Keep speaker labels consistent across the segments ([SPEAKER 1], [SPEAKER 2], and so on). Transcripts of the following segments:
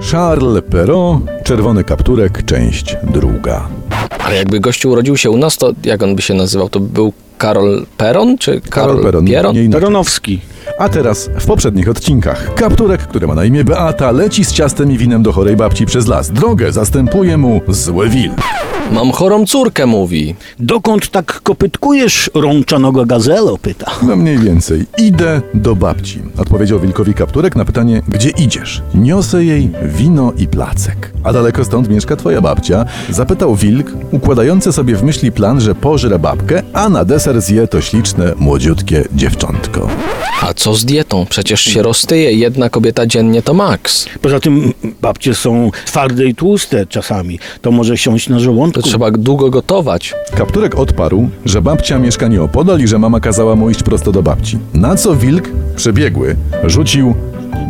[SPEAKER 1] Charles Perrault, Czerwony Kapturek, część druga.
[SPEAKER 2] Ale jakby gościu urodził się u nas, to jak on by się nazywał? To był Karol Peron czy Karol,
[SPEAKER 1] Karol Perron,
[SPEAKER 2] Pieron?
[SPEAKER 1] nie inaczej.
[SPEAKER 3] Peronowski.
[SPEAKER 1] A teraz w poprzednich odcinkach. Kapturek, który ma na imię Beata, leci z ciastem i winem do chorej babci przez las. Drogę zastępuje mu zły wil.
[SPEAKER 2] Mam chorą córkę, mówi.
[SPEAKER 3] Dokąd tak kopytkujesz, rączanoga gazelo? pyta.
[SPEAKER 1] No mniej więcej. Idę do babci. Odpowiedział wilkowi kapturek na pytanie, gdzie idziesz? Niosę jej wino i placek. A daleko stąd mieszka twoja babcia? Zapytał wilk, układający sobie w myśli plan, że pożre babkę, a na deser zje to śliczne, młodziutkie dziewczątko.
[SPEAKER 2] A co z dietą? Przecież się roztyje, jedna kobieta dziennie to maks.
[SPEAKER 3] Poza tym babcie są twarde i tłuste czasami. To może siąść na
[SPEAKER 2] To
[SPEAKER 3] żołądku.
[SPEAKER 2] trzeba długo gotować.
[SPEAKER 1] Kapturek odparł, że babcia mieszka nieopodal i że mama kazała mu iść prosto do babci. Na co wilk, przebiegły, rzucił,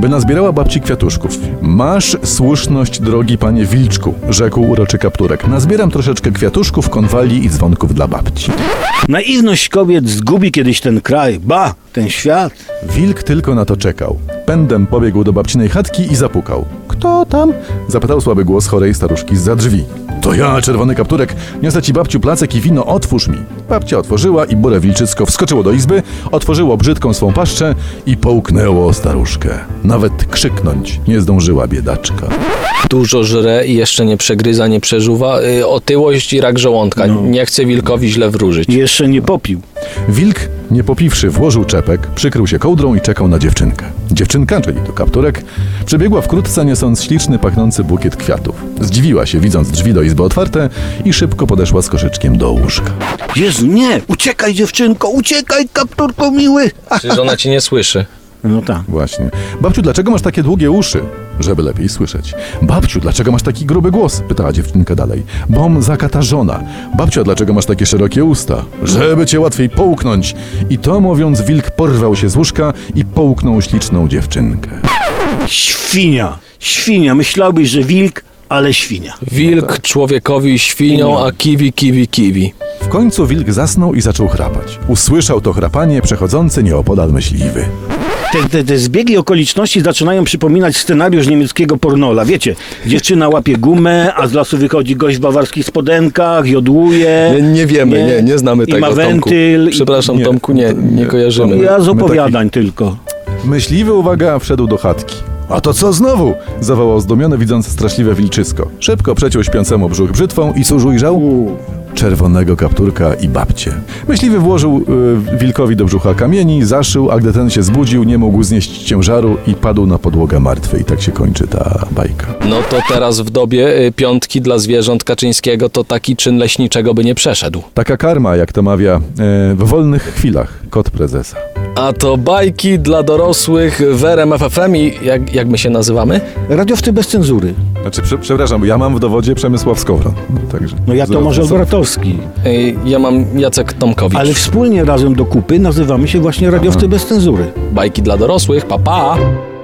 [SPEAKER 1] by nazbierała babci kwiatuszków. Masz słuszność, drogi panie wilczku, rzekł uroczy kapturek. Nazbieram troszeczkę kwiatuszków, konwali i dzwonków dla babci.
[SPEAKER 3] Naiwność kobiet zgubi kiedyś ten kraj, ba, ten świat.
[SPEAKER 1] Wilk tylko na to czekał. Pędem pobiegł do babcinej chatki i zapukał. Kto tam? Zapytał słaby głos chorej staruszki za drzwi. To ja, czerwony kapturek, niosę ci babciu placek i wino, otwórz mi. Babcia otworzyła i burę wilczycko wskoczyło do izby, otworzyło brzydką swą paszczę i połknęło staruszkę. Nawet krzyknąć nie zdążyła biedaczka.
[SPEAKER 2] Dużo żre i jeszcze nie przegryza, nie przeżuwa. Y, otyłość i rak żołądka. Nie chce wilkowi źle wróżyć.
[SPEAKER 3] Jeszcze nie popił.
[SPEAKER 1] Wilk, nie popiwszy, włożył czepek, przykrył się kołdrą i czekał na dziewczynkę. Dziewczynka, czyli to kapturek, przebiegła wkrótce niosąc śliczny, pachnący bukiet kwiatów. Zdziwiła się, widząc drzwi do izby otwarte i szybko podeszła z koszyczkiem do łóżka.
[SPEAKER 3] Jezu, nie, uciekaj dziewczynko, uciekaj kapturko miły. A,
[SPEAKER 2] Czyż ona cię nie słyszy?
[SPEAKER 3] No tak.
[SPEAKER 1] Właśnie. Babciu, dlaczego masz takie długie uszy? Żeby lepiej słyszeć. Babciu, dlaczego masz taki gruby głos? Pytała dziewczynka dalej. Bom zakatarzona. Babciu, a dlaczego masz takie szerokie usta? Żeby cię łatwiej połknąć. I to mówiąc, wilk porwał się z łóżka i połknął śliczną dziewczynkę.
[SPEAKER 3] Świnia, świnia, myślałbyś, że wilk, ale świnia.
[SPEAKER 2] Wilk człowiekowi świnią, a kiwi, kiwi, kiwi.
[SPEAKER 1] W końcu wilk zasnął i zaczął chrapać. Usłyszał to chrapanie przechodzący nieopodal myśliwy.
[SPEAKER 3] Te, te, te zbiegi okoliczności zaczynają przypominać scenariusz niemieckiego pornola. Wiecie, dziewczyna łapie gumę, a z lasu wychodzi gość w bawarskich spodenkach, jodłuje.
[SPEAKER 2] Nie, nie wiemy, nie, nie, znamy
[SPEAKER 3] I
[SPEAKER 2] tego,
[SPEAKER 3] ma
[SPEAKER 2] Tomku.
[SPEAKER 3] wentyl. i-
[SPEAKER 2] Przepraszam,
[SPEAKER 1] nie,
[SPEAKER 2] Tomku, nie, nie
[SPEAKER 1] nie,
[SPEAKER 2] kojarzymy.
[SPEAKER 3] Ja z
[SPEAKER 1] My
[SPEAKER 3] opowiadań tylko.
[SPEAKER 1] Myśliwy, uwaga, wszedł do chatki. A to co znowu? Zawołał zdumiony, widząc straszliwe wilczysko. Szybko przeciął śpiącemu brzuch brzytwą i cóż ujrzał? Czerwonego kapturka i babcie. Myśliwy włożył y, wilkowi do brzucha kamieni, zaszył, a gdy ten się zbudził, nie mógł znieść ciężaru i padł na podłogę martwy. I tak się kończy ta bajka.
[SPEAKER 2] No to teraz w dobie y, piątki dla zwierząt Kaczyńskiego to taki czyn leśniczego by nie przeszedł.
[SPEAKER 1] Taka karma, jak to mawia, y, w wolnych chwilach kot prezesa.
[SPEAKER 2] A to bajki dla dorosłych w RMFFM i jak, jak my się nazywamy?
[SPEAKER 3] Radiowty bez cenzury.
[SPEAKER 1] Znaczy, prze, przepraszam, ja mam w dowodzie Przemysław Skowron. Także.
[SPEAKER 3] No ja to
[SPEAKER 1] Zaraz-
[SPEAKER 3] może
[SPEAKER 1] zaraz-
[SPEAKER 3] Obratowski.
[SPEAKER 2] Y, Ja mam Jacek Tomkowicz.
[SPEAKER 3] Ale wspólnie razem do kupy nazywamy się właśnie Radiowty bez cenzury.
[SPEAKER 2] Bajki dla dorosłych, pa pa!